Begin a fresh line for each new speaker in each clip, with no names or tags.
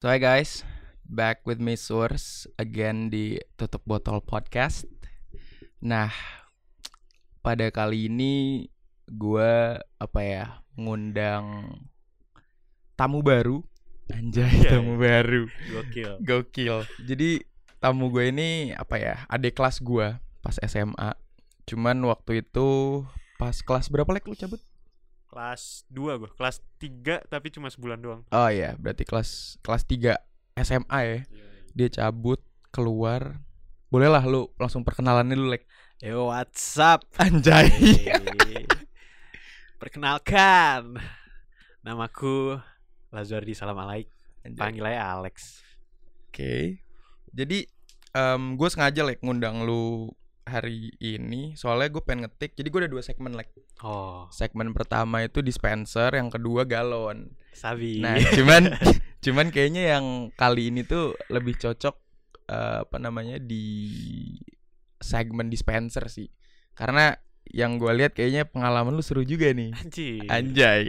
So hi guys, back with me Source again di Tutup Botol Podcast. Nah, pada kali ini gue apa ya ngundang tamu baru, anjay
Anjay.
tamu baru,
Gokil.
gokil. Jadi tamu gue ini apa ya adik kelas gue pas SMA. Cuman waktu itu pas kelas berapa lek lu cabut?
Kelas 2 gue, kelas 3 tapi cuma sebulan doang.
Oh iya, berarti kelas kelas 3 SMA ya. dia cabut keluar bolehlah lu langsung perkenalan dulu like
Yo what's up Iya,
anjay
Hey. Perkenalkan Namaku Lazuardi Salamalaik
Anjay.
Panggil aja Alex
oke jadi em gue sengaja like ngundang lu hari ini soalnya gue pengen ngetik jadi gue ada dua segmen like
Oh
segmen pertama itu dispenser yang kedua galon
Sabi
nah cuman cuman kayaknya yang kali ini tuh lebih cocok eh, apa namanya di segmen dispenser sih karena yang gue lihat kayaknya pengalaman lu seru juga nih
Anjir
Anjay.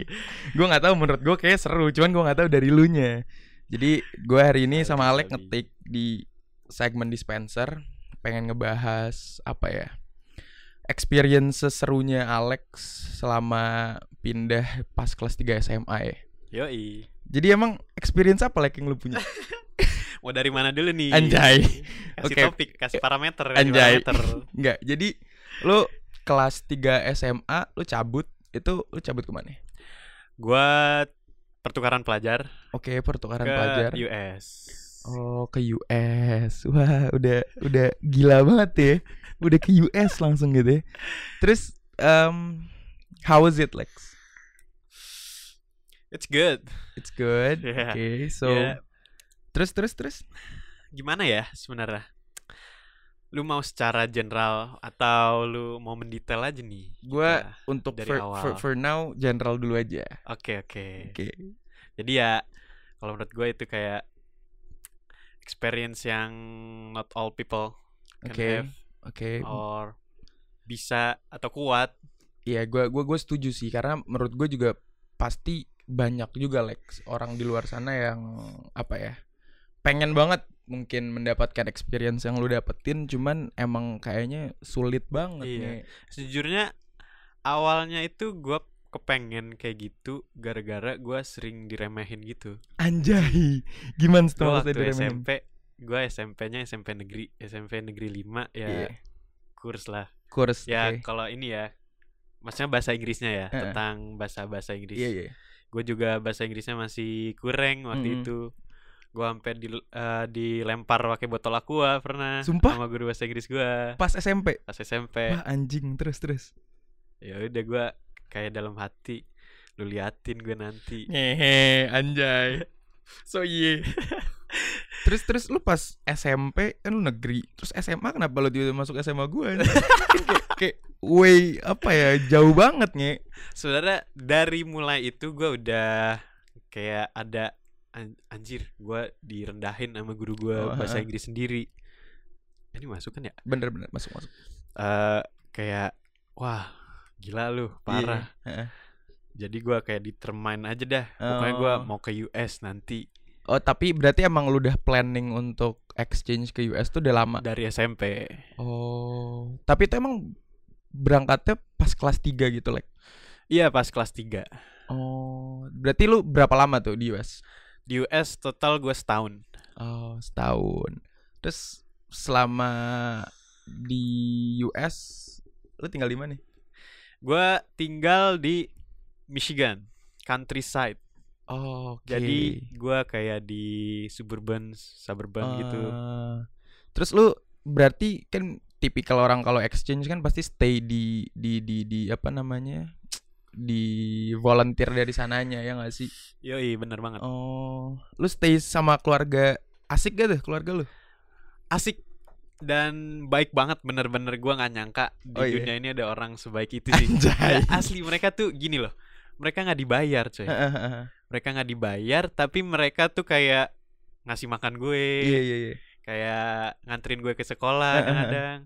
Gue nggak tahu menurut gue kayak seru, cuman gue nggak tahu dari lu nya. Jadi gue hari ini sama Alek ngetik di segmen dispenser pengen ngebahas apa ya? Experience serunya Alex selama pindah pas kelas 3 SMA ya.
Yoi
Jadi emang experience apa Alek yang lu punya?
Mau dari mana dulu nih
Anjay.
Kasih
Oke.
topik, kasih parameter kasih
Anjay.
parameter.
Enggak. Jadi lu kelas 3 SMA lu cabut itu lu cabut kemana?
Gua pertukaran pelajar
Oke, pertukaran
ke
pelajar.
US
Oh ke US, wah udah udah gila banget ya, udah ke US langsung gitu. ya Terus um, how was it Lex?
It's good
It's good.
Yeah.
Oke, so
Yeah.
terus terus terus.
Gimana ya sebenarnya Lu mau secara general Atau lu mau mendetail aja nih
Gua-
Kita-
Untuk
Nah, Dari
for,
awal.
for, for now general dulu aja.
Oke oke.
Oke.
Jadi ya kalau menurut gue itu kayak experience yang not all people can
Oke.
have
Oke.
or bisa atau kuat.
Iya, gua gua gua setuju sih karena menurut gue juga pasti banyak juga Lex orang di luar sana yang apa ya? Pengen banget mungkin mendapatkan experience yang lu dapetin cuman emang kayaknya sulit banget
Iya.
nih.
Sejujurnya awalnya itu gue kepengen kayak gitu gara-gara gue sering diremehin gitu.
Anjay. Gimana
Gue
setelah
waktu SMP, gue SMP-nya SMP negeri, SMP negeri 5 ya kurs lah.
Kurs.
Ya
Iya, oke.
kalau ini ya, maksudnya bahasa Inggrisnya ya
Heeh.
tentang bahasa-bahasa Inggris.
Iya, iya.
gue juga bahasa Inggrisnya masih kurang waktu
Mm-mm.
itu gue sampai di, eh, dilempar pakai botol aqua pernah
Sumpah?
sama guru bahasa Inggris gue
Pas SMP.
pas SMP
Wah, anjing terus terus.
ya udah gue kayak dalam hati lu liatin gue nanti
Ngehe, anjay. So iya. terus terus lu pas SMP kan lu negeri, terus SMA kenapa lu tiba-tiba masuk SMA gua? anjing? Kan kayak, kayak way apa ya, jauh banget nge.
sebenarnya dari mulai itu gue udah kayak ada "An- anjir gue direndahin sama guru gue
Oh,
bahasa
heeh.
Inggris sendiri ini masuk kan ya
Bener-bener masuk masuk.
Eh, kayak wah gila lu parah
Heeh. Iya.
jadi gue kayak determine aja dah Pokoknya gue mau ke US nanti
Oh, tapi berarti emang lu udah planning untuk exchange ke US tuh udah lama.
dari SMP.
Oh, tapi itu emang berangkatnya pas kelas 3 gitu, Lek.
Iya pas kelas 3.
Oh, berarti lu berapa lama tuh di US?
Di US total gue setahun.
Oh, setahun. Terus selama di US lu tinggal di mana?
Gue tinggal di Michigan, countryside.
Oh, oke.
Jadi gue kayak di suburban, suburban gitu.
Ah. Terus lu berarti kan tipikal orang kalau exchange kan pasti stay di di di di apa namanya? di volunteer dari sananya ya gak sih?
Yoi bener banget.
Oh, lu stay sama keluarga asik gak tuh keluarga lu?
Asik dan baik banget bener-bener gue nggak nyangka di
Oh, iya.
dunia ini ada orang sebaik itu sih.
Anjay.
Ya, asli mereka tuh gini loh. Mereka nggak dibayar coy. Mereka nggak dibayar tapi mereka tuh kayak ngasih makan gue.
Iya iya iya.
kayak nganterin gue ke
Heeh,
sekolah
heeh.
kadang-kadang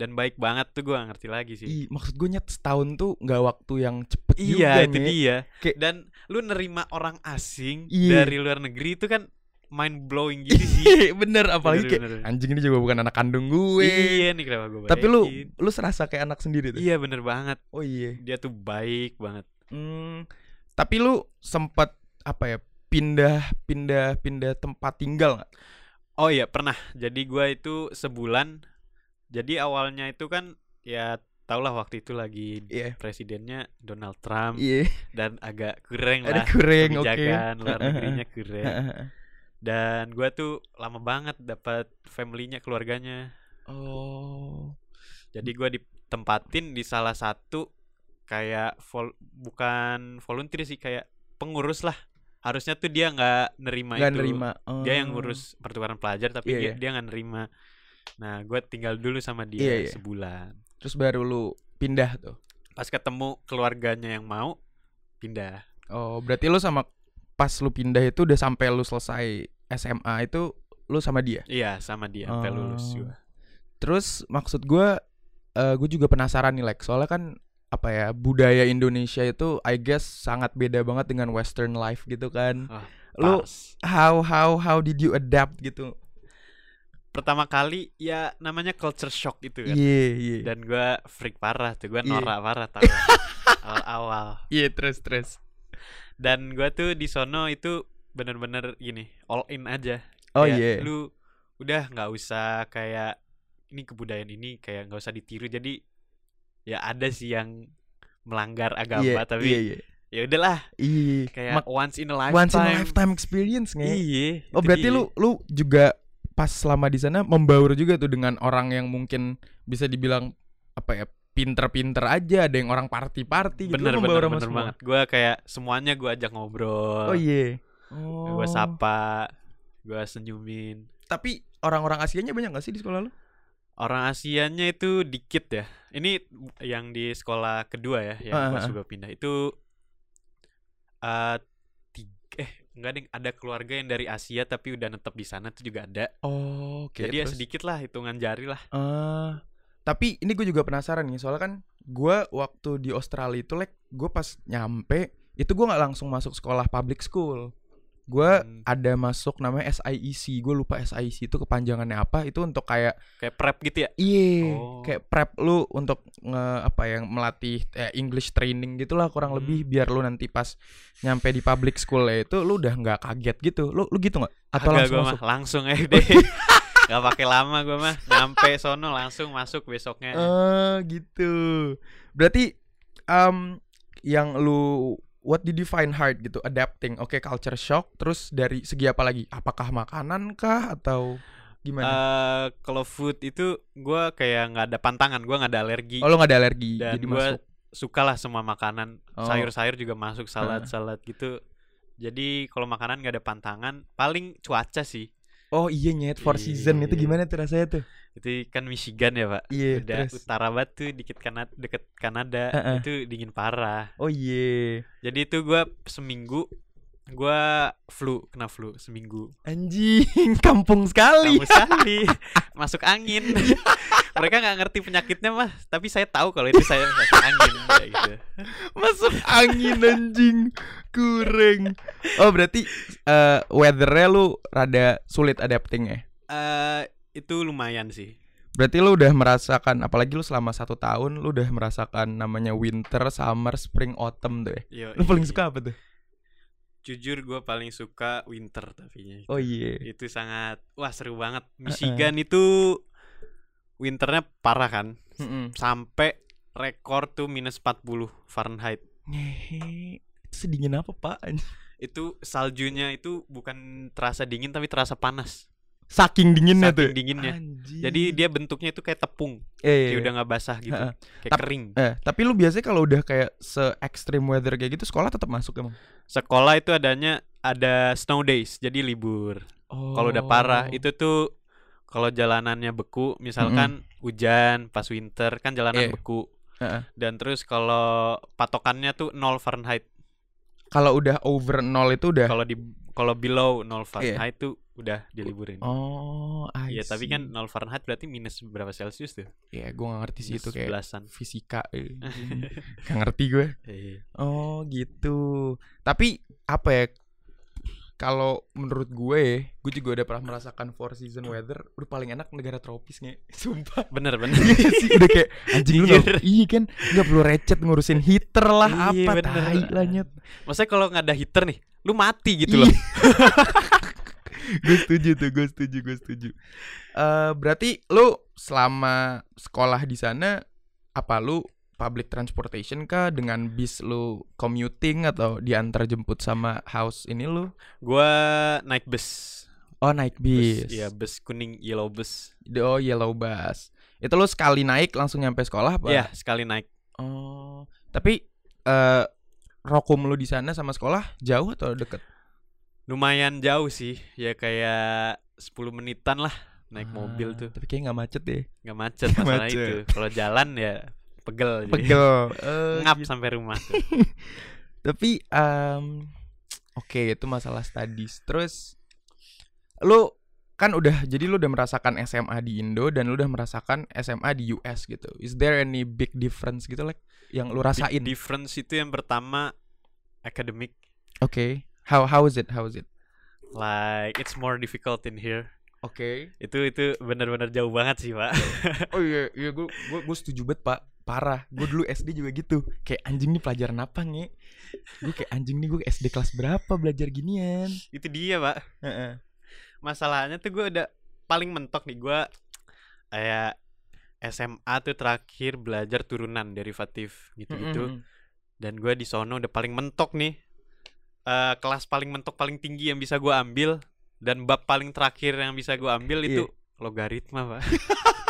dan baik banget tuh gue gak ngerti lagi sih
Ih, maksud gue nyet setahun tuh nggak waktu yang cepet
iya
juga
itu
Nyet.
dia
Kayak-
dan lu nerima orang asing
Iya.
dari luar negeri itu kan mind blowing gitu sih.
bener apalagi kayak
Bener-bener.
anjing ini juga bukan anak kandung gue.
Iya nih kenapa gue
Tapi lu lu serasa kayak anak sendiri tuh.
Iya bener banget
Oh iya.
Dia tuh baik banget
Hmm, tapi lu sempat apa ya? Pindah pindah pindah tempat tinggal nggak?
Oh iya pernah Jadi gua itu sebulan Jadi awalnya itu kan Ya tau lah waktu itu lagi
Iya.
Presidennya Donald Trump
Iya.
Dan agak kurang
Ada
lah
kurang oke.
Kebijakan luar
Heeh,
negerinya ya. kurang
Heeh, heeh.
Dan gua tuh lama banget dapat family-nya keluarganya
Oh.
Jadi gua ditempatin di salah satu Kayak vol- bukan volunteer sih Kayak pengurus lah Harusnya tuh dia nggak
Gak
nerima Nah, itu
nerima. Oh.
dia yang ngurus pertukaran pelajar
Iya,
tapi dia
iya.
dia nggak nerima nah gue tinggal dulu sama dia
Iya, iya.
sebulan
Terus baru lu pindah tuh.
pas ketemu keluarganya yang mau pindah
Oh, berarti lu sama pas lu pindah itu udah sampai lu selesai SMA itu lu sama dia.
iya sama dia sampai lulus
Oh.
juga
Terus maksud gua eh gue juga penasaran nih like soalnya kan apa ya budaya Indonesia itu I guess sangat beda banget dengan western life gitu kan.
Ah,
lu
Pas.
how how how did you adapt gitu?
pertama kali ya namanya culture shock gitu
Iya,
kan
iya.
dan gue freak parah tuh gue
Iya.
norak parah tau awal, awal
Iya, terus terus.
dan gue tuh di sono itu bener-bener gini all in aja
Oh
Kayak
iya.
lu udah nggak usah kayak ini kebudayaan ini kayak nggak usah ditiru jadi ya ada sih yang melanggar agama
Iya,
tapi
iya, iya.
ya udahlah
Iya.
kayak
Mak-
once in a lifetime
once in a lifetime experience nge.
iya
Oh
itu
berarti
dia.
lu lu juga pas selama di sana membaur juga tuh dengan orang yang mungkin bisa dibilang apa ya pinter-pinter aja ada yang orang party-party gitu lu
bener bener
membaur sama
bener
semua.
banget gue kayak semuanya gue ajak ngobrol
Oh iya.
gue sapa gue senyumin
Tapi orang-orang Asianya banyak gak sih di sekolah lu?
orang Asianya itu dikit ya ini yang di sekolah kedua ya yang
Ah,
gua
ah, ah.
juga pindah itu eh tiga eh enggak deh ada keluarga yang dari Asia tapi udah netep di sana tuh juga ada
Oh, oke.
jadi ya sedikit lah hitungan jari lah
Ah, tapi ini gue juga penasaran nih soalnya kan gue waktu di Australia itu like gue pas nyampe itu gue nggak langsung masuk sekolah public school gue
Hmm.
ada masuk namanya SIEC gue lupa SIEC itu kepanjangannya apa itu untuk kayak
kayak prep gitu ya
iya
Oh.
kayak prep lu untuk nge apa yang melatih eh, English training gitulah kurang
Hmm.
lebih biar lu nanti pas nyampe di public school itu lu udah nggak kaget gitu lu lu gitu nggak atau
Agak
langsung
gua
masuk
mah langsung aja deh nggak pakai lama gue mah nyampe sono langsung masuk besoknya
Eh gitu. Berarti um, yang lu what did you find hard gitu adapting. Oke, culture shock terus dari segi apa lagi? Apakah makanan kah atau gimana?
Eh, kalau food itu gua kayak nggak ada pantangan gua nggak ada alergi
oh, lu gak ada alergi
dan
jadi
gua
masuk.
sukalah semua makanan
Oh.
sayur-sayur juga masuk salad salad gitu jadi kalau makanan nggak ada pantangan paling cuaca sih
Oh, iya nyet for season itu
Iya.
gimana tuh rasanya tuh?
itu kan Michigan ya pak
Iya,
udah
terus.
utara banget tuh dikit Kanada deket Kanada
Heeh.
itu dingin parah
Oh, iya.
jadi itu gua seminggu gua flu kena flu seminggu
Anjing, kampung sekali.
kamu sekali masuk angin mereka nggak ngerti penyakitnya mah tapi saya tahu kalau itu saya masuk angin kayak gitu
Masuk angin anjing. Kurang. Oh, berarti eh weathernya lu rada sulit adapting ya?
Eh, itu lumayan sih
Berarti lu udah merasakan apalagi lu selama satu tahun lu udah merasakan namanya winter, summer, spring, autumn tuh ya.
Yo,
Lu paling suka apa tuh?
jujur gue paling suka winter tapi
Oh iya.
itu sangat wah seru banget Michigan itu winternya parah kan
Mm-mm.
sampai rekor tuh minus 40 Fahrenheit
Ngehe. Itu Sedingin apa, Pak? Anj-
itu saljunya itu bukan terasa dingin tapi terasa panas
Saking dinginnya
saking
tuh. ya?
dinginnya
Anjing.
jadi dia bentuknya itu kayak tepung
eh,
kayak udah nggak basah gitu
Heeh.
kayak
Tap-
kering
eh, tapi lu biasanya kalau udah kayak se extreme weather kayak gitu sekolah tetap masuk emang.
sekolah itu adanya ada snow days jadi libur
Oh.
kalau udah parah itu tuh kalau jalanannya beku misalkan hujan pas winter kan jalanan
Iya.
beku
Heeh.
dan terus kalau patokannya tuh 0 Fahrenheit
kalau udah over nol itu udah
kalau di kalau below 0 Fahrenheit tuh udah diliburin
Iya. Oh, I
Iya tapi
see.
kan 0 Fahrenheit berarti minus berapa Celsius tuh?
ya gua gak ngerti sih
Minus
itu kayak
belasan.
fisika eh. Gak ngerti gue.
Iya.
Oh gitu. Tapi apa ya? kalau menurut gue, gue juga udah pernah merasakan four season weather. Udah paling enak negara tropis nge. Sumpah.
bener bener
Iya gak sih, udah kayak anjing lu
Jujur.
gak- Iya kan, gak perlu recet ngurusin heater lah
Iya,
apa
bener.
tai lah nyet.
maksudnya kalau nggak ada heater nih lu mati
Iya.
gitu loh
gue setuju tuh, gue setuju, gue setuju. Eh berarti lu selama sekolah di sana apa lu public transportation kah dengan bis lu commuting atau diantar jemput sama house ini lu?
gua naik bus
Oh naik bis.
Bus, iya bus kuning yellow bus
Oh yellow bus. Itu lu sekali naik langsung nyampe sekolah apa?
Iya sekali naik
Oh tapi eh rokum lu di sana sama sekolah jauh atau deket?
lumayan jauh sih ya kayak 10 menitan lah naik
Ah,
mobil tuh
Tapi kayaknya nggak macet deh.
nggak macet
Nggak
masalah
macet.
itu kalau jalan ya pegel jadi.
Pegel. Eh,
ngap
gitu.
sampai rumah
Tapi em, oke itu masalah studies. Terus lu kan udah jadi lu udah merasakan SMA di Indo dan lu udah merasakan SMA di US gitu. Is there any big difference gitu like yang lu
Big
rasain? Oke.
difference itu yang pertama academic
How how is it? How is it?
like it's more difficult in here
Oke.
itu itu benar-benar jauh banget sih pak
Oh iya iya gue gue setuju banget Pak. Parah. Gue dulu SD juga gitu. Kayak anjing nih pelajaran apa nge? Gue kayak anjing nih gue SD kelas berapa belajar ginian?
itu dia pak
Heeh.
masalahnya tuh gue udah paling mentok nih gue kayak SMA tuh terakhir belajar turunan derivatif gitu-gitu
Mm-mm.
dan gue di sono udah paling mentok nih Eh kelas paling mentok paling tinggi yang bisa gue ambil dan bab paling terakhir yang bisa gue ambil
Iya.
itu logaritma pak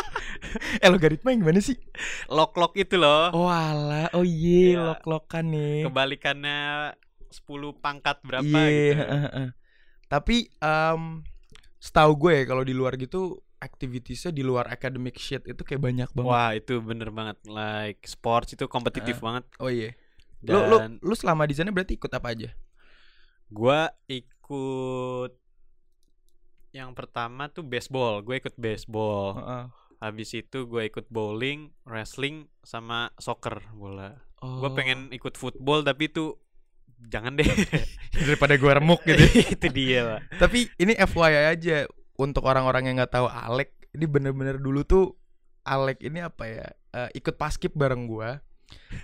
Eh logaritma yang gimana sih?
log log itu loh
Oh ala, oh ye,
Iya.
lok-lokan nih.
kebalikannya 10 pangkat berapa
Iya,
gitu
heeh, heeh. Tapi em setahu gue ya kalau di luar gitu activitiesnya di luar academic shit itu kayak banyak banget.
wah itu bener banget like sports itu kompetitif banget
Oh iya. Lu lu
dan
lu selama di sana berarti ikut apa aja?
gue ikut yang pertama tuh baseball gue ikut baseball
Heeh.
habis itu gue ikut bowling wrestling sama soccer bola
Oh.
gue pengen ikut football tapi itu jangan deh
daripada gue remuk gitu.
itu dia pak
Tapi ini FYI aja untuk orang-orang yang nggak tahu Alek, ini bener-bener dulu tuh Alek ini apa ya? eh, ikut paskib bareng gua.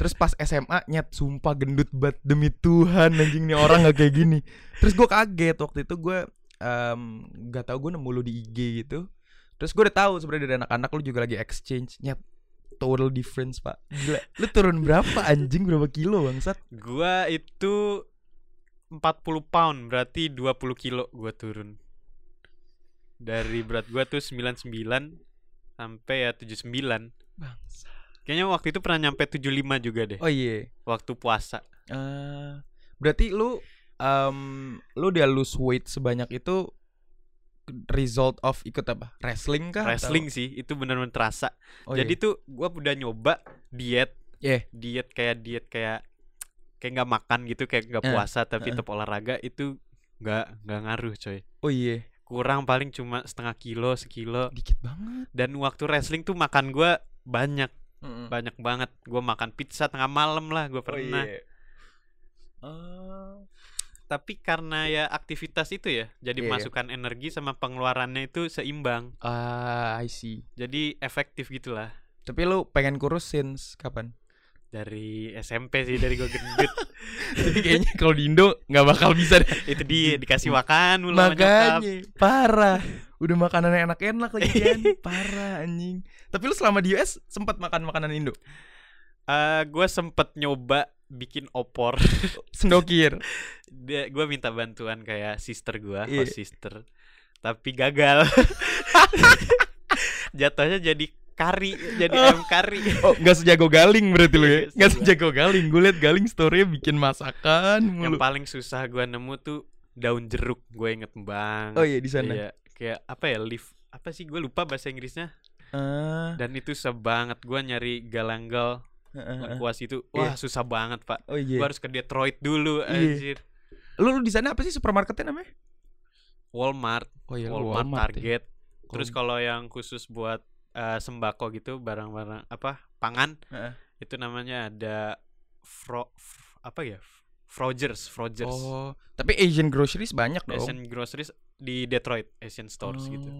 Terus pas SMA nyet sumpah gendut banget demi Tuhan anjing nih orang nggak kayak gini. Terus gua kaget waktu itu gua em, nggak tahu gua nemu lu di IG gitu. Terus gua udah tahu sebenarnya dari anak-anak lu juga lagi exchange nyet total difference pak gila lu turun berapa anjing berapa kilo bangsat
gue itu 40 pound berarti 20 kilo gue turun dari berat gue tuh 99 sampai ya 79
bangsat
kayaknya waktu itu pernah nyampe 75 juga deh
oh iya
waktu puasa
Eh, berarti lu em lu udah lose weight sebanyak itu result of ikut apa? Wrestling kah? atau-
wrestling sih itu benar-benar terasa
Oh,
jadi
iya.
tuh gue udah nyoba diet
Yeah.
diet kayak diet kayak kayak nggak makan gitu kayak nggak
Eh,
puasa
eh, eh.
tapi tetap olahraga itu nggak nggak ngaruh coy
Oh iya,
kurang paling cuma setengah kilo sekilo
dikit banget.
dan waktu wrestling tuh makan gua banyak
Mm-mm.
banyak banget gua makan pizza tengah malam lah gua
Oh,
pernah
iya. Eh,
tapi karena ya aktivitas itu ya jadi
Iya, iya.
masukan energi sama pengeluarannya itu seimbang
ah, I see.
jadi efektif gitulah
Tapi lu pengen kurus since kapan?
dari SMP sih dari gua gendut
Tapi kayaknya kalau di Indo nggak bakal bisa deh.
itu dia dikasih makan mulu sama nyokap.
Iya. Makanya parah. Udah makanan enak-enak lagi kan. parah anjing. Tapi lu selama di US sempat makan makanan Indo?
Eh, gua sempet nyoba bikin opor
Sendokir.
dia gue minta bantuan kayak sister gue
Iya.
host sister tapi gagal jatuhnya jadi kari jadi ayam kari
Oh, gak sejago galing berarti lu ya?
Iya,
Gak
sejago.
sejago galing. Gue liat galing story bikin masakan mulu.
yang paling susah gue nemu tuh daun jeruk gue inget banget
Oh iya di sana.
Iya, kayak apa ya leaf apa sih gue lupa bahasa Inggrisnya
Ah,
dan itu susah banget gue nyari galanggal
ah, ah, ah.
lengkuas itu
Iya.
wah susah banget pak
Oh
gue
iya.
harus ke Detroit dulu
Iya.
anjir
Lu, lu di sana apa sih supermarketnya namanya?
Walmart
Oh iya,
Walmart,
ya.
Target Terus
Walmart.
kalau yang khusus buat eh, sembako gitu barang-barang apa pangan
Heeh.
itu namanya ada fro f- apa ya F- Frogers, Frogers.
Oh, tapi Asian groceries banyak dong.
Asian groceries di Detroit, Asian stores gitu.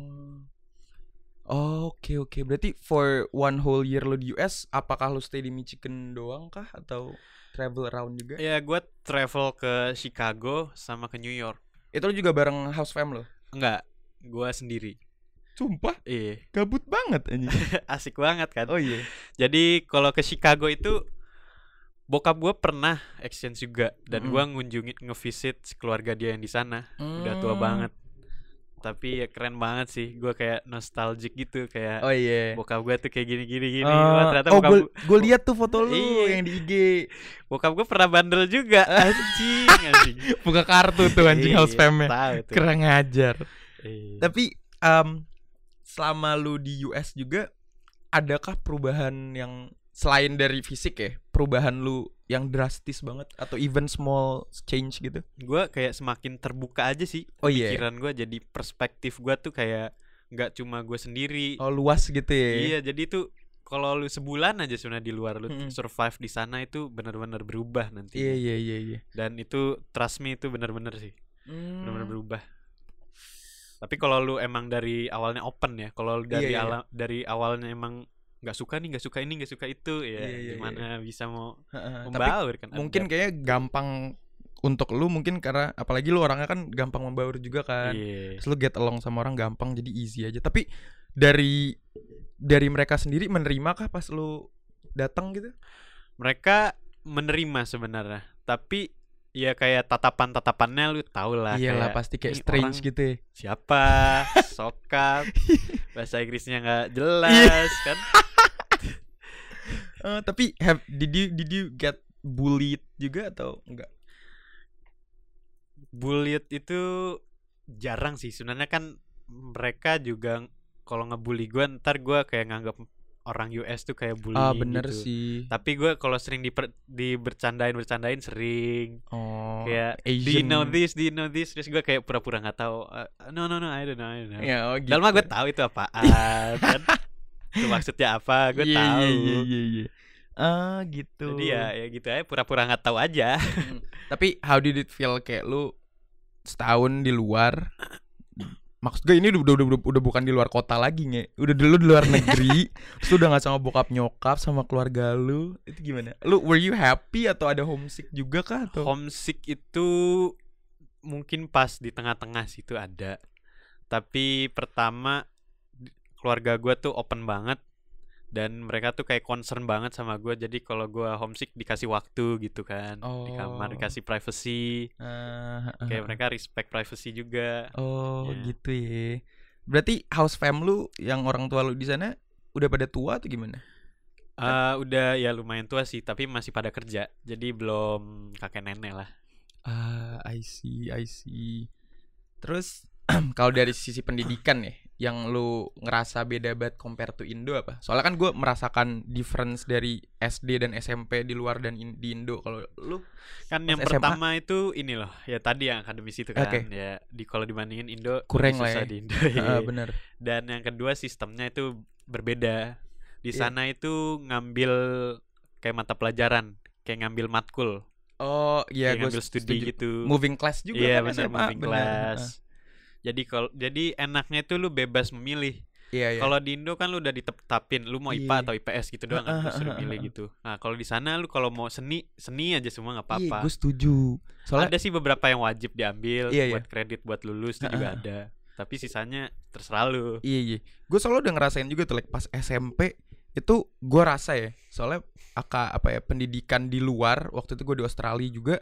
Oh, oke oke. Berarti for one whole year lo di US, apakah lo stay di Michigan doang kah atau travel around juga?
Ya, gua travel ke Chicago sama ke New York.
Itu lo juga bareng house fam lo?
Enggak, gua sendiri.
Sumpah,
Iya,
gabut banget anjing.
asik banget kan.
oh iya.
Jadi kalau ke Chicago itu bokap gue pernah exchange juga dan
Mm-mm.
gua ngunjungin ngevisit keluarga dia yang di sana. Udah tua
Hmm.
banget. Tapi ya keren banget sih. Gua kayak nostalgic gitu kayak
Oh iya.
bokap gue tuh kayak gini-gini
Eh,
gini. Wah, ternyata
oh,
bokap
gue
gua-
gue lihat tuh foto lu
Iya.
yang di IG.
bokap gue pernah bandel juga. anjing, anjing.
Buka kartu tuh anjing
Iya,
house famnya.
Tahu tuh.
Kurang ajar.
Iya.
Tapi em, selama lu di US juga adakah perubahan yang selain dari fisik ya, perubahan lu yang drastis banget atau even small change gitu?
Gua kayak semakin terbuka aja sih
Oh iya.
pikiran gua jadi perspektif gua tuh kayak nggak cuma gue sendiri
Oh luas gitu ya.
Iya, jadi itu kalau lu sebulan aja sebenarnya di luar lu
Mm-mm.
survive di sana itu benar-benar berubah nanti.
Iya iya iya iya.
Dan itu trust me itu benar-benar sih,
Hmm.
benar-benar berubah. Tapi kalau lu emang dari awalnya open ya, kalau lu
Iya,
dari
iya.
ala- dari awalnya emang nggak suka nih, nggak suka ini, nggak suka itu ya,
Iya, iya,
gimana bisa mau
Heeh, Tapi
membaur kan?
mungkin kayaknya gampang untuk lu mungkin karena apalagi lu orangnya kan gampang membaur juga
Adapt.
kan.
Iya.
Terus lu get along sama orang gampang jadi easy aja. Tapi dari dari mereka sendiri menerima kah pas lu datang gitu?
Mereka menerima sebenarnya, tapi ya kayak tatapan-tatapannya lu tau lah
Iyalah Iya
Ah, kayak,
pasti kayak
"Nih
strange
orang
gitu ya.
siapa sokap bahasa Inggrisnya nggak
Iya.
jelas kan
Eh, tapi have did you did you get bullied juga atau enggak?
bullied itu jarang sih sebenarnya kan mereka juga ng- kalau ngebully gue ntar gue kayak nganggap orang US tuh kayak bully
Ah bener
gitu.
sih.
tapi gue kalau sering diper, dibercandain bercandain sering
Oh.
kayak do
Asian.
you know this do you know this terus gue kayak pura-pura nggak tahu "Uh, no no no I don't know I don't know
Ya, oh, gitu.
dalam gue tahu itu apaan kan itu maksudnya apa gue
Iya,
tahu
Iya iya iya iya. Ah gitu.
jadi ya ya gitu aja pura-pura nggak tahu aja
Tapi how did it feel kayak lu setahun di luar? Maksud gue ini udah, udah, udah, udah bukan di luar kota lagi nge Udah dulu di luar negeri Terus lu udah gak sama bokap nyokap Sama keluarga lu Itu gimana? Lu were you happy atau ada homesick juga kah? Atau?
homesick itu mungkin pas di tengah-tengah situ ada tapi pertama di- keluarga gue tuh open banget dan mereka tuh kayak concern banget sama gue jadi kalau gue homesick dikasih waktu gitu kan di
Oh.
kamar dikasih privacy
Ah, ah,
kayak
ah.
mereka respect privacy juga
Oh
Ya.
gitu ya. Berarti house fam lu yang orang tua lu di sana udah pada tua atau gimana?
Eh, udah ya lumayan tua sih tapi masih pada kerja jadi belum kakek nenek lah
Ah, I see, I see. Terus kalau dari sisi pendidikan ya, yang lu ngerasa beda banget compare to Indo apa? Soalnya kan gue merasakan difference dari SD dan SMP di luar dan in- di Indo. Kalau lu
kan
Pas
yang
SMA?
pertama itu ini loh ya tadi yang akademis itu kan
Oke.
ya di kalau dibandingin Indo lebih
Kurang lah
susah
ya.
di Indo
ah,
iya.
bener.
dan yang kedua sistemnya itu berbeda di
Iya.
sana itu ngambil kayak mata pelajaran kayak ngambil matkul
Oh iya
kayak
gue
ngambil studi gitu
Moving class juga
iya
kan
benar
SMA,
moving
bener.
class
Ah,
jadi kalau jadi enaknya itu lu bebas memilih
Iya iya.
kalau di Indo kan lu udah ditetapin lu mau IPA
Iya.
atau IPS gitu doang kan lu suruh milih gitu nah kalau di sana lu kalau mau seni seni aja semua nggak
Iya
apa-apa
gue setuju. Soalnya
ada sih beberapa yang wajib diambil
Iya,
buat kredit buat lulus itu juga ada tapi sisanya terserah lu
Iya iya. Gue selalu udah ngerasain juga tuh like pas SMP itu gue rasa ya soalnya aka apa ya pendidikan di luar waktu itu gue di Australia juga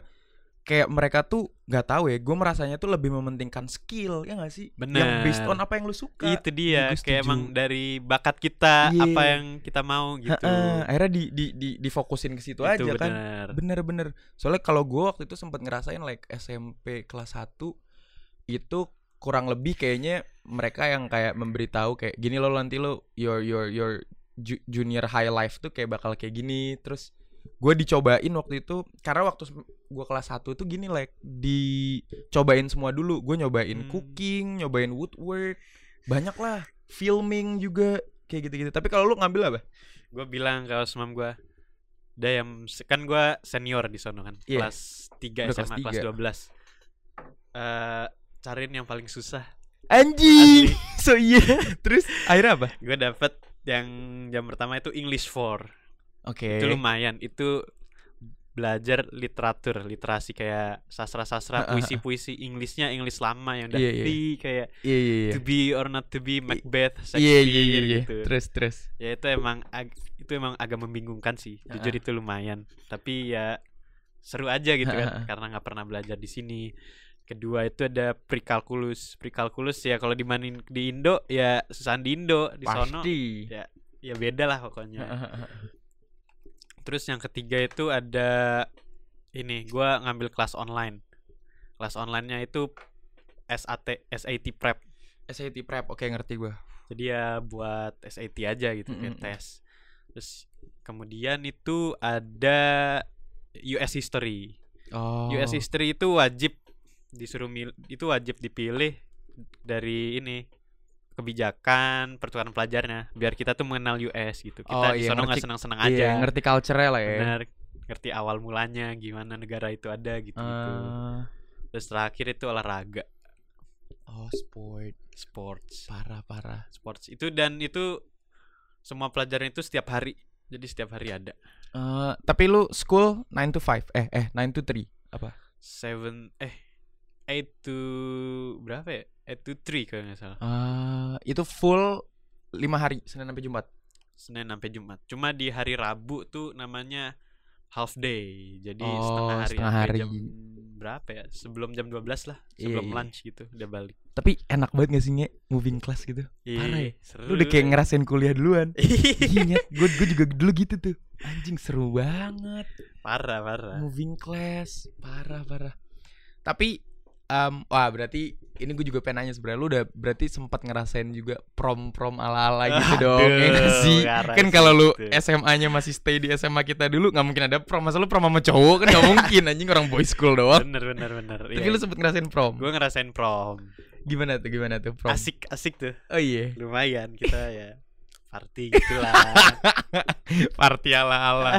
kayak mereka tuh nggak tahu ya gue merasanya tuh lebih mementingkan skill ya gak sih yang based
Bener.
on apa yang lu suka
itu
iya,
dia
Gua
kayak
setuju.
emang dari bakat kita
Iya.
apa yang kita mau gitu
Heeh, akhirnya di di di difokusin ke situ aja
itu
kan
benar
Bener-bener. Soalnya kalau gue waktu itu sempat ngerasain like SMP kelas 1 itu kurang lebih kayaknya mereka yang kayak memberitahu kayak gini lo nanti lo your your your ju- junior high life tuh kayak bakal kayak gini terus gue dicobain waktu itu karena waktu gue kelas 1 tuh gini like dicobain semua dulu gue nyobain
Hmm.
cooking nyobain woodwork banyak lah filming juga kayak gitu-gitu tapi kalau lu ngambil apa
gue bilang ke osmam gue ada yang kan gua senior di sono kan
Iya.
kelas
Udah
3 SMA
kelas
kelas,
3.
12 eh cariin yang paling susah
Anjing. so iya. Terus akhirnya apa?
gue dapet yang jam pertama itu English 4
Oke.
itu lumayan itu belajar literatur literasi kayak sastra-sastra
Ha, ha, ha.
puisi-puisi Inggrisnya Inggris lama yang udah
Iya, iya.
di kayak
Iya iya iya.
to be or not to be Macbeth
Iya
Shakespeare
iya iya. iya.
gitu
Terus terus.
ya itu emang ag- itu emang agak membingungkan sih
Ha,
jujur itu lumayan tapi ya seru aja gitu
Ha, ha,
kan karena nggak pernah belajar di sini kedua itu ada prekalkulus prekalkulus ya kalau dimanin di Indo ya susahan di Indo di sono
Pasti.
ya beda lah pokoknya Terus yang ketiga itu ada ini gua ngambil kelas online. Kelas onlinenya itu SAT SAT prep.
SAT prep. Oke ngerti gua.
Jadi ya buat SAT aja gitu
Mm-mm.
kayak tes. Terus kemudian itu ada US history.
Oh.
US history itu wajib disuruh mil- itu wajib dipilih dari ini kebijakan pertukaran pelajarnya biar kita tuh mengenal US gitu. Kita
Oh,
di
iya,
sono nggak
ngerti-
senang-senang aja.
Iya, ngerti culture-nya lah ya.
Benar, ngerti awal mulanya gimana negara itu ada gitu gitu.
Ah.
Terus terakhir itu olahraga, gitu.
oh, sport.
sports.
Parah, parah.
Sports itu dan itu semua pelajaran itu setiap hari. Jadi setiap hari ada.
Eh, tapi lu school 9 to 5. Eh, eh 9 to 3.
Seven eh eight to berapa ya? Eight to three kalau nggak salah.
Ah, itu full 5 hari Senin sampai Jumat.
Senin sampai Jumat. Cuma di hari Rabu tuh namanya half day. Jadi
Oh,
setengah hari.
setengah
sampai
hari.
Jam berapa ya? Sebelum jam 12 lah.
Iya,
Sebelum
iya.
lunch gitu udah balik.
Tapi enak banget gak sih Nge? moving class gitu. Parah ya?
Iya, seru.
Lu udah kayak ngerasain kuliah duluan. Iya, gue gue juga dulu gitu tuh. Anjing seru banget.
parah, parah.
Moving class, parah parah. Tapi em, wah berarti ini gue juga pengen nanya sebenarnya lu udah berarti sempat ngerasain juga prom-prom ala-ala gitu dong. ya nggak sih? Kan kalau lu
gitu.
SMA-nya masih stay di SMA kita dulu nggak mungkin ada prom. Masa lu prom sama cowok kan nggak mungkin anjing orang boy school doang.
bener bener bener
Tapi lu sempet ngerasain prom.
gue ngerasain prom.
Gimana tuh? Gimana tuh prom?
asik asik tuh
Oh iya.
lumayan kita ya party gitulah
Party ala-ala.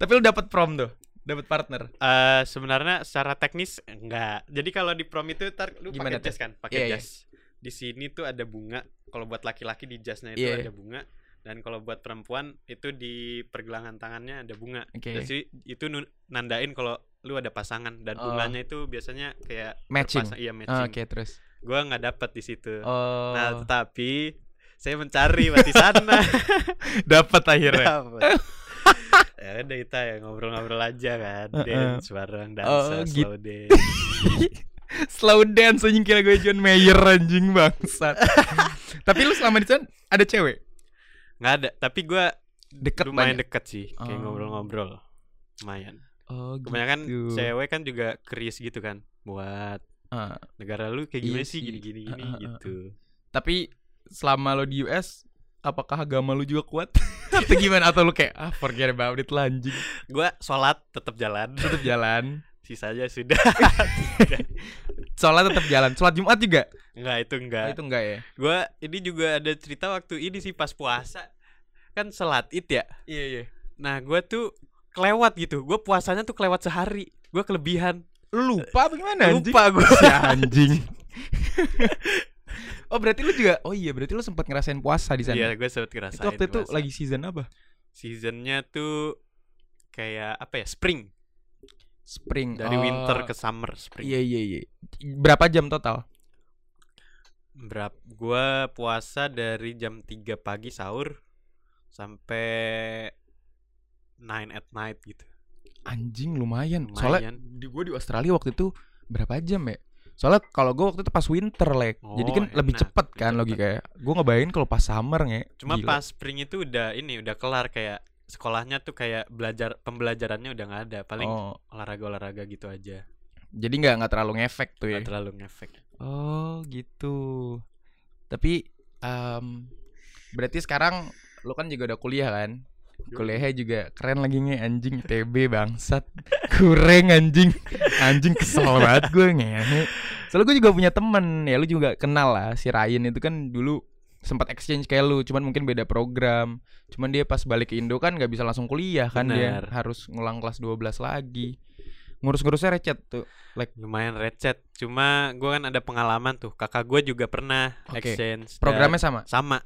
Tapi lu dapat prom tuh. Dapat partner.
Eh sebenarnya secara teknis enggak jadi kalau di prom itu tar lu
Gimana
pakai jas kan pakai
Iya, iya.
jas di sini tuh ada bunga kalau buat laki-laki di jasnya itu
Iya, iya.
ada bunga dan kalau buat perempuan itu di pergelangan tangannya ada bunga
Oke.
jadi itu nu- nandain kalau lu ada pasangan dan
Oh.
bunganya itu biasanya kayak
Matching.
pasang- iya
Ah,
matching
Oke, terus.
gue nggak dapet di situ
Oh.
Nah, tetapi saya mencari di sana.
dapat akhirnya.
Dapet. ya udah kita ya ngobrol-ngobrol aja kan.
Heeh.
Dance bareng,
Oh,
dansa, slow dance.
Slow dance anjing kira gue John Mayer anjing bangsat. Tapi lu selama di sana ada cewek?
Nggak ada, tapi gua
Deket
lumayan
banyak.
deket sih. Kayak
Oh.
ngobrol-ngobrol. Lumayan.
Oh,
Kebanyakan
Gitu.
cewek kan juga keris gitu kan. Buat
Ah,
negara lu kayak
Iya
gimana
sih.
sih gini-gini gini
Heeh, heeh,
gitu.
tapi selama lo di US apakah agama lu juga kuat? Atau gimana? Atau lu kayak ah forget about it lah, anjing.
Gua sholat tetap jalan.
Tetap jalan.
Sisanya sudah.
Sholat tetap jalan. Sholat Jumat juga?
Enggak itu enggak.
Oh, itu enggak ya?
Gua ini juga ada cerita waktu ini sih pas puasa. Kan selat id ya.
Iya, iya.
Nah, gue tuh kelewat gitu. Gue puasanya tuh kelewat sehari. Gue kelebihan.
Lu lupa apa gimana anjing?
Lupa gue.
Si anjing. oh, berarti lu juga Oh iya, berarti lu sempat ngerasain puasa di sana.
Iya, gue sempet ngerasain.
itu waktu itu
puasa.
lagi season apa?
seasonnya tuh kayak apa ya? Spring.
Spring.
Dari
Oh,
winter ke summer, spring.
Iya iya iya. Berapa jam total?
Berap gue puasa dari jam 3 pagi sahur sampai 9 at night gitu.
Anjing lumayan.
Lumayan.
Soalnya di gue di Australia waktu itu berapa jam ya? Soalnya kalau gue waktu itu pas winter lek.
Oh,
Jadi kan lebih
enak,
cepet
lebih
kan
cepet.
logikanya. Gue ngebayangin kalau pas summer nge.
Cuma
Gila.
pas spring itu udah ini udah kelar kayak sekolahnya tuh kayak belajar pembelajarannya udah nggak ada paling
Oh,
olahraga-olahraga gitu aja
jadi nggak nggak terlalu ngefek tuh ya.
nggak terlalu ngefek
Oh gitu. Tapi em, berarti sekarang lu kan juga udah kuliah kan? Kuliahnya juga keren lagi nge anjing TB bangsat. Kureng anjing. Anjing kesel banget gue nge. Soalnya gue juga punya temen ya lu juga kenal lah si Ryan itu kan dulu sempat exchange kayak lu cuman mungkin beda program cuman dia pas balik ke Indo kan nggak bisa langsung kuliah kan
Benar.
dia harus ngulang kelas 12 lagi ngurus-ngurusnya recet tuh
lumayan recet cuma gue kan ada pengalaman tuh kakak gue juga pernah
Oke.
exchange dan
programnya sama
sama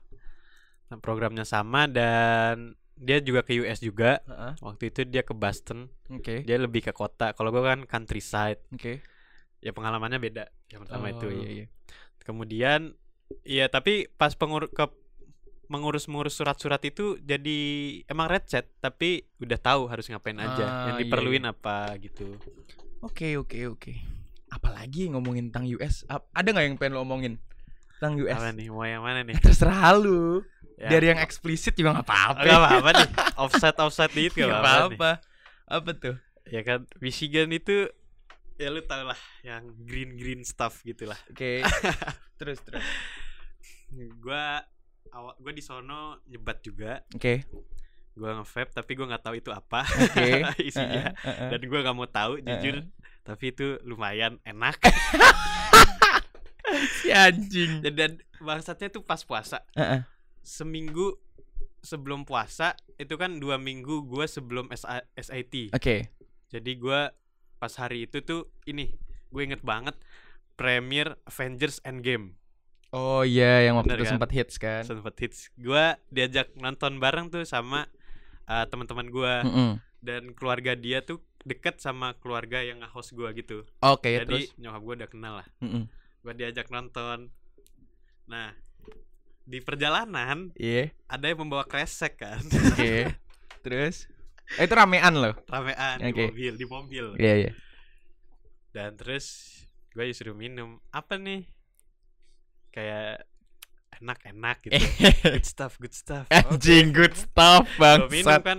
Nah, programnya sama dan dia juga ke US juga
Heeh.
waktu itu dia ke Boston
oke
dia lebih ke kota kalau gue kan countryside
oke
ya pengalamannya beda yang pertama itu
Oh,
ya.
iya, iya.
kemudian ya tapi pas pengur ke mengurus-mengurus surat-surat itu jadi emang recet tapi udah tahu harus ngapain aja
Ah,
yang
iya,
diperluin apa gitu
oke oke oke apalagi ngomongin tentang US Ap- ada nggak yang pengen lo omongin tentang US
apa nih mau yang mana nih
terserah lu
Ya,
dari yang eksplisit juga nggak apa-apa
nggak apa-apa nih offset offset dikit
Nggak
nggak apa-apa nih.
Iya, apa-apa apa tuh
ya kan Michigan itu ya lu tau lah yang green green stuff gitu gitulah
oke terus terus
gua awal gua di sono nyebat juga
oke
gua nge tapi gua nggak tahu itu apa
oke Eh,
isinya
Heeh, heeh.
dan gue gak mau tahu jujur
Heeh.
tapi itu lumayan enak
si anjing
dan, dan bangsatnya tuh pas puasa
Heeh.
seminggu sebelum puasa itu kan dua minggu gue sebelum SA SIT
oke
jadi gue pas hari itu tuh ini gue inget banget premier Avengers Endgame
oh iya yang waktu
Bener
itu
kan?
sempat hits kan
sempet hits gue diajak nonton bareng tuh sama uh, teman-teman gue
Mm-mm.
dan keluarga dia tuh deket sama keluarga yang nge-host gue gitu
oke
jadi
Iya, terus
nyokap gue udah kenal lah
Mm-mm.
gue diajak nonton nah di perjalanan
iya
ada yang membawa kresek kan
oke terus eh, itu ramean loh
ramean di
Oke.
mobil di mobil
iya iya
dan terus gue disuruh minum apa nih kayak enak enak gitu
Eh.
good stuff good stuff
anjing good stuff
Gue
Eh,
minum
bangsat
kan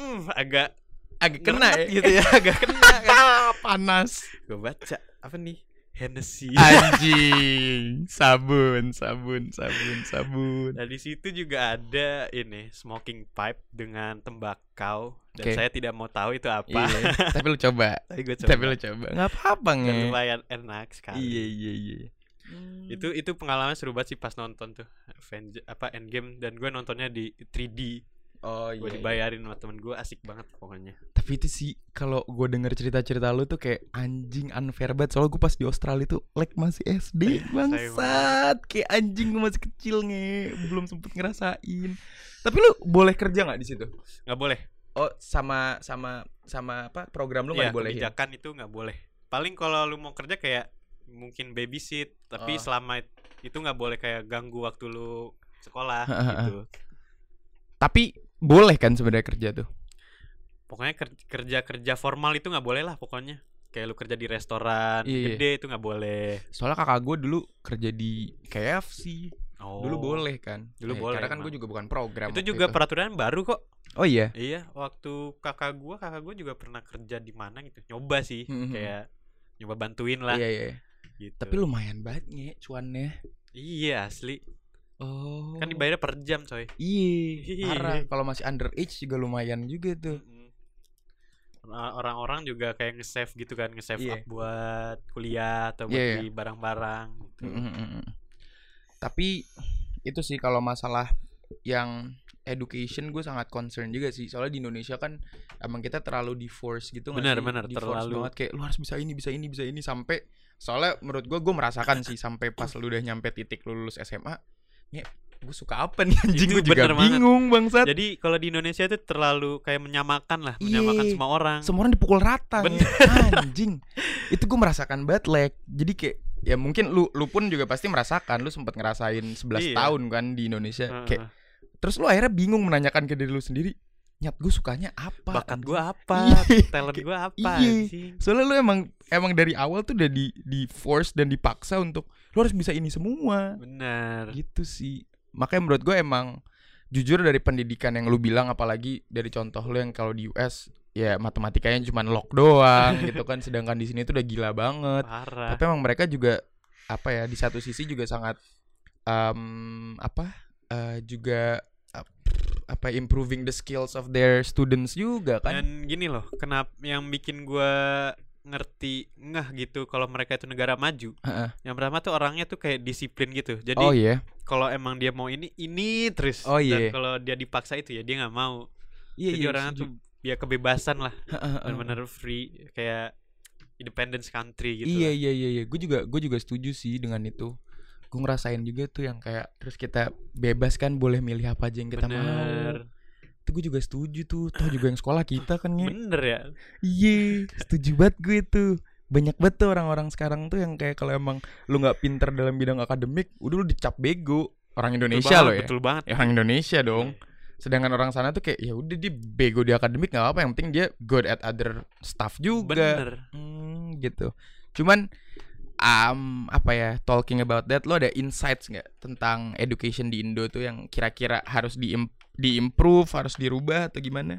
mm, agak
agak kena
ngeremet
ya
gitu ya agak kena kan
panas
gue baca apa nih Hennessy
anjing sabun sabun sabun sabun
Nah di situ juga ada ini smoking pipe dengan tembakau dan
Oke.
saya tidak mau tahu itu apa.
iya tapi lu coba
Tapi gue
tapi lu coba nggak apa-apa nge
lumayan enak sekali.
iya iya iya itu
Itu itu pengalaman seru banget sih pas nonton tuh Avenge- apa Endgame dan gue nontonnya di 3D.
oh
Gue dibayarin sama temen gue asik banget pokoknya.
Tapi itu sih kalau gue denger cerita-cerita lu tuh kayak anjing unfair banget. Soalnya gue pas di Australia tuh like masih SD bangsat, kayak anjing gue masih kecil nge, belum sempet ngerasain. Tapi lu boleh kerja nggak di situ?
Nggak boleh.
Oh sama sama sama apa program lu
ya,
nggak boleh
kebijakan itu nggak boleh. Paling kalau lu mau kerja kayak mungkin babysit
Oh.
tapi selama itu nggak boleh kayak ganggu waktu lu sekolah gitu.
Tapi boleh kan sebenarnya kerja tuh?
pokoknya ker- kerja kerja formal itu nggak boleh lah pokoknya kayak lu kerja di restoran
Iya, iya.
gede itu nggak boleh
Soalnya kakak gue dulu kerja di KFC,
oh.
dulu boleh kan?
Dulu boleh,
Karena kan
emang.
gue juga bukan program.
itu
waktu
juga peraturan baru kok
Oh iya.
iya waktu kakak gua kakak gua juga pernah kerja di mana gitu nyoba sih
Mhm.
kayak nyoba bantuin lah
Iya iya.
gitu
Tapi lumayan banget nge cuannya.
iya asli
Oh.
kan dibayar per jam coy
Iya,
Iya.
parah. Kalau masih underage juga lumayan juga tuh.
Mm-mm. Or- orang-orang juga kayak nge-save gitu kan nge-save
Iya.
up buat kuliah atau buat
Iya, iya.
beli barang-barang gitu.
Mm-mm-mm. Tapi itu sih kalau masalah yang education gue sangat concern juga sih. Soalnya di Indonesia kan emang kita terlalu di force gitu nggak
Benar,
sih?
benar,
Di force
terlalu.
banget kayak lu harus bisa ini, bisa ini, bisa ini sampai soalnya menurut gue gue merasakan sih sampai pas lu udah nyampe titik lu lulus SMA, ya gue suka apa nih anjing
Itu
gue juga
bener banget.
bingung bangsat.
Jadi kalau di Indonesia itu terlalu kayak menyamakan lah, menyamakan
Iya.
semua orang.
semua orang dipukul rata
Bener.
nge. anjing itu gue merasakan banget lag jadi kayak ya mungkin lu lu pun juga pasti merasakan lu sempat ngerasain 11
Iya.
tahun kan di Indonesia
Heeh.
kayak terus lu akhirnya bingung menanyakan ke diri lu sendiri nyat gue sukanya apa
bakat
anjing?"
gue apa,
Iya.
talent gue apa
Iya.
anjing.
soalnya lu emang emang dari awal tuh udah di di force dan dipaksa untuk lu harus bisa ini semua
Bener.
gitu sih makanya menurut gue emang jujur dari pendidikan yang lu bilang apalagi dari contoh lu yang kalau di US ya matematikanya cuman lock doang gitu kan sedangkan di sini tuh udah gila banget
Parah.
tapi emang mereka juga apa ya di satu sisi juga sangat em, apa eh, juga ap- apa improving the skills of their students juga kan
Dan gini loh, kenapa yang bikin gue ngerti ngeh gitu kalau mereka itu negara maju.
Heeh.
Yang pertama tuh orangnya tuh kayak disiplin gitu. Jadi
oh iya
kalau emang dia mau ini ini terus
Oh, iya.
dan kalau dia dipaksa itu ya dia nggak mau
Iya,
jadi
iya,
orangnya
setuju.
tuh ya kebebasan lah
Heeh, heeh.
benar-benar free kayak independence country gitu
iya
lah.
iya iya iya gue juga gue juga setuju sih dengan itu gue ngerasain juga tuh yang kayak terus kita bebas kan boleh milih apa aja yang kita
bener
mau itu gue juga setuju tuh toh juga yang sekolah kita kan Nge.
bener ya
Iya, setuju banget gue itu. Banyak banget tuh orang-orang sekarang tuh yang kayak kalau emang lu nggak pinter dalam bidang akademik, udah lu dicap bego. Orang Indonesia loh
betul banget,
ya.
betul banget
Ya, Orang Indonesia dong. Sedangkan orang sana tuh kayak ya udah dia bego di akademik nggak apa-apa, yang penting dia good at other stuff juga.
bener
Hmm, gitu. Cuman um, apa ya talking about that lo ada insights nggak tentang education di Indo tuh yang kira-kira harus di diimprove harus dirubah atau gimana?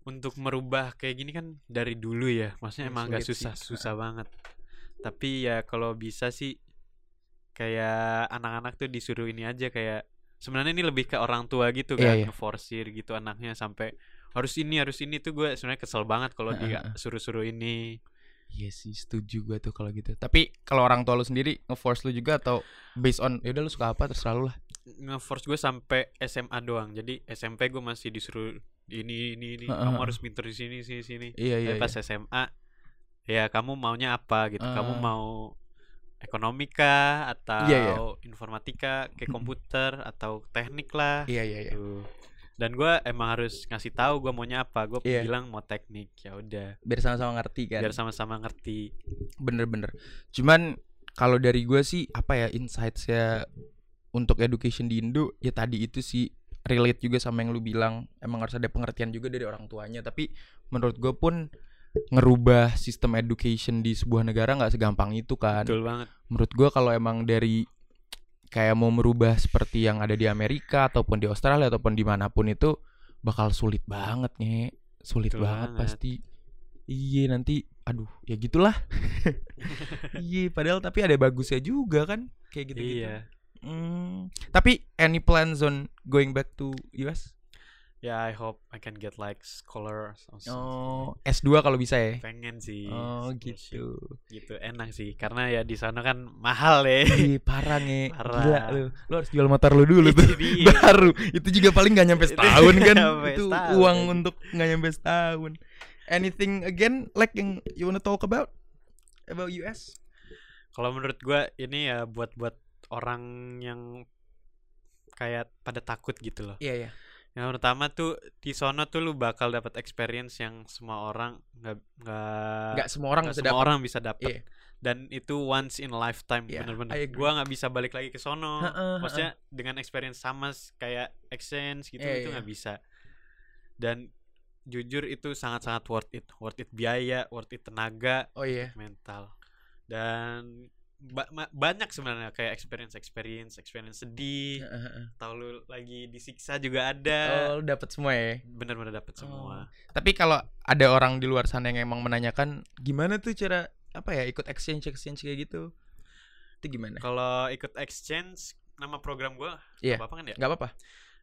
untuk merubah kayak gini kan dari dulu ya maksudnya
Ya,
emang agak
sulit sih.
susah susah banget tapi ya kalau bisa sih kayak anak-anak tuh disuruh ini aja kayak sebenarnya ini lebih ke orang tua gitu
Iya,
kan
iya.
ngeforsir gitu anaknya sampai harus ini harus ini tuh gue sebenarnya kesel banget kalau dia suruh-suruh ini
Iya sih setuju gue tuh kalau gitu Tapi kalau orang tua lu sendiri nge-force lu juga atau Based on yaudah lu suka apa terserah lu lah
ngeforce gue sampai SMA doang jadi SMP gue masih disuruh ini ini ini
Heeh,
kamu
heeh.
harus pinter di sini sini sini
Iya iya
Tapi pas SMA ya kamu maunya apa gitu
Ah.
kamu mau ekonomika atau
Iya, iya.
informatika kayak
Mm-mm.
komputer atau teknik lah
Iya iya iya
Tuh. dan gua emang harus ngasih tahu gua maunya apa gue
Iya.
bilang mau teknik ya udah
Biar sama-sama ngerti kan
biar sama-sama ngerti
Bener-bener Cuman kalau dari gue sih apa ya insights-nya Untuk education di Indo Ya tadi itu sih relate juga sama yang lu bilang Emang harus ada pengertian juga dari orang tuanya Tapi menurut gue pun Ngerubah sistem education di sebuah negara nggak segampang itu kan
betul banget
menurut gua kalau emang dari kayak mau merubah seperti yang ada di Amerika ataupun di Australia ataupun dimanapun itu bakal sulit banget nih sulit
Betul
banget,
banget.
pasti iya nanti aduh ya gitulah iya padahal tapi ada bagusnya juga kan kayak gitu gitu
iya
tapi any plans on going back to US
ya I hope I can get like scholar or something.
oh S2 kalau bisa ya
pengen sih
oh
scholarship
gitu
gitu enak sih karena ya di sana kan mahal ya
Iya parah nge
Parah.
Gila lu Lu harus jual motor lu dulu tuh
Jadi-
Baru Itu juga paling gak nyampe
Iya. Itu
setahun kan
nggak nyampe
Itu
setahun. iya.
uang untuk gak nyampe setahun Anything again Like yang you wanna talk about About US
Kalau menurut gua ini ya buat buat orang yang kayak pada takut gitu loh.
Iya iya
Yang pertama tuh di sono tuh lu bakal dapat experience yang semua orang nggak nggak
Gak semua orang
nggak
bisa
semua
dapat
orang bisa dapat.
Iya.
Dan itu once in a lifetime
Iya,
bener-bener.
I agree.
Gua nggak bisa balik lagi ke sono.
Heeh, heeh.
Maksudnya dengan experience sama s- kayak exchange gitu
Iya,
itu
iya.
nggak bisa. Dan jujur itu sangat-sangat worth it, worth it biaya, worth it tenaga,
Oh iya
mental dan ba- ma- banyak sebenarnya kayak experience experience experience sedih atau lu lagi disiksa juga ada
Ya. Oh lu dapet semua ya
bener-bener dapet Eh, semua
Oh. Tapi kalau ada orang di luar sana yang emang menanyakan Gimana tuh cara Apa ya ikut exchange-exchange kayak gitu Itu gimana
kalau ikut exchange nama program gua
Iya.
apa kan ya
Gak apa-apa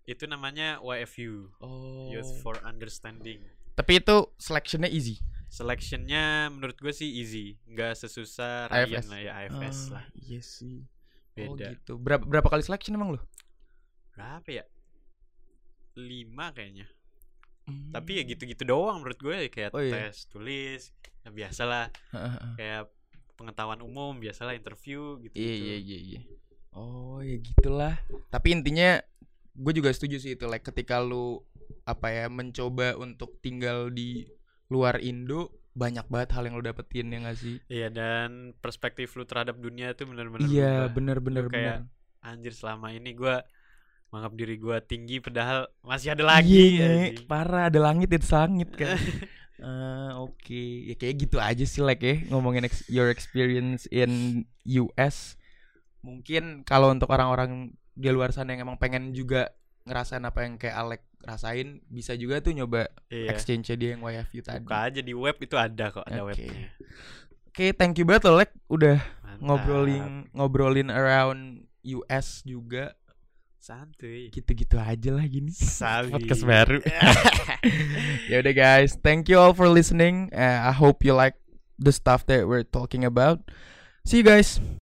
itu namanya YFU
Oh
Youth for Understanding
Tapi itu selectionnya easy
selectionnya menurut gue sih easy nggak sesusah
AFS.
Ryan lah ya AFS
Ah,
lah
Iya sih. Oh
beda
gitu. Berapa berapa kali selection emang lu?
berapa ya lima kayaknya tapi ya
Iya,
gitu-gitu doang menurut gue kayak
Oh, iya.
tes tulis ya biasalah
Heeh, heeh.
kayak pengetahuan umum biasalah interview gitu
Iya iya iya iya. Oh ya gitulah. Tapi intinya gue juga setuju sih itu like ketika lu apa ya mencoba untuk tinggal di luar Indo banyak banget hal yang lu dapetin ya gak sih?
iya dan perspektif lu terhadap dunia itu benar-benar
Iya
berubah.
bener bener
Lu kayak,
bener.
anjir selama ini gue menganggap diri gue tinggi padahal masih ada lagi
Iya,
anjing.
parah ada langit itu sangit kan. Eh, Oke, ya kayak gitu aja sih like ya ngomongin ex- your experience in US. Mungkin kalau untuk orang-orang di luar sana yang emang pengen juga ngerasain apa yang kayak Alek rasain, bisa juga tuh nyoba
iya
exchange dia yang YFU tadi.
buka
Oke,
aja di web itu ada kok ada
Oke.
webnya
thank you banget loh Lek udah
Mantap.
ngobrolin ngobrolin around US juga.
santuy
Gitu-gitu aja lah gini.
Sabi.
Podcast baru. ya udah guys thank you all for listening uh, i hope you like the stuff that we're talking about see you guys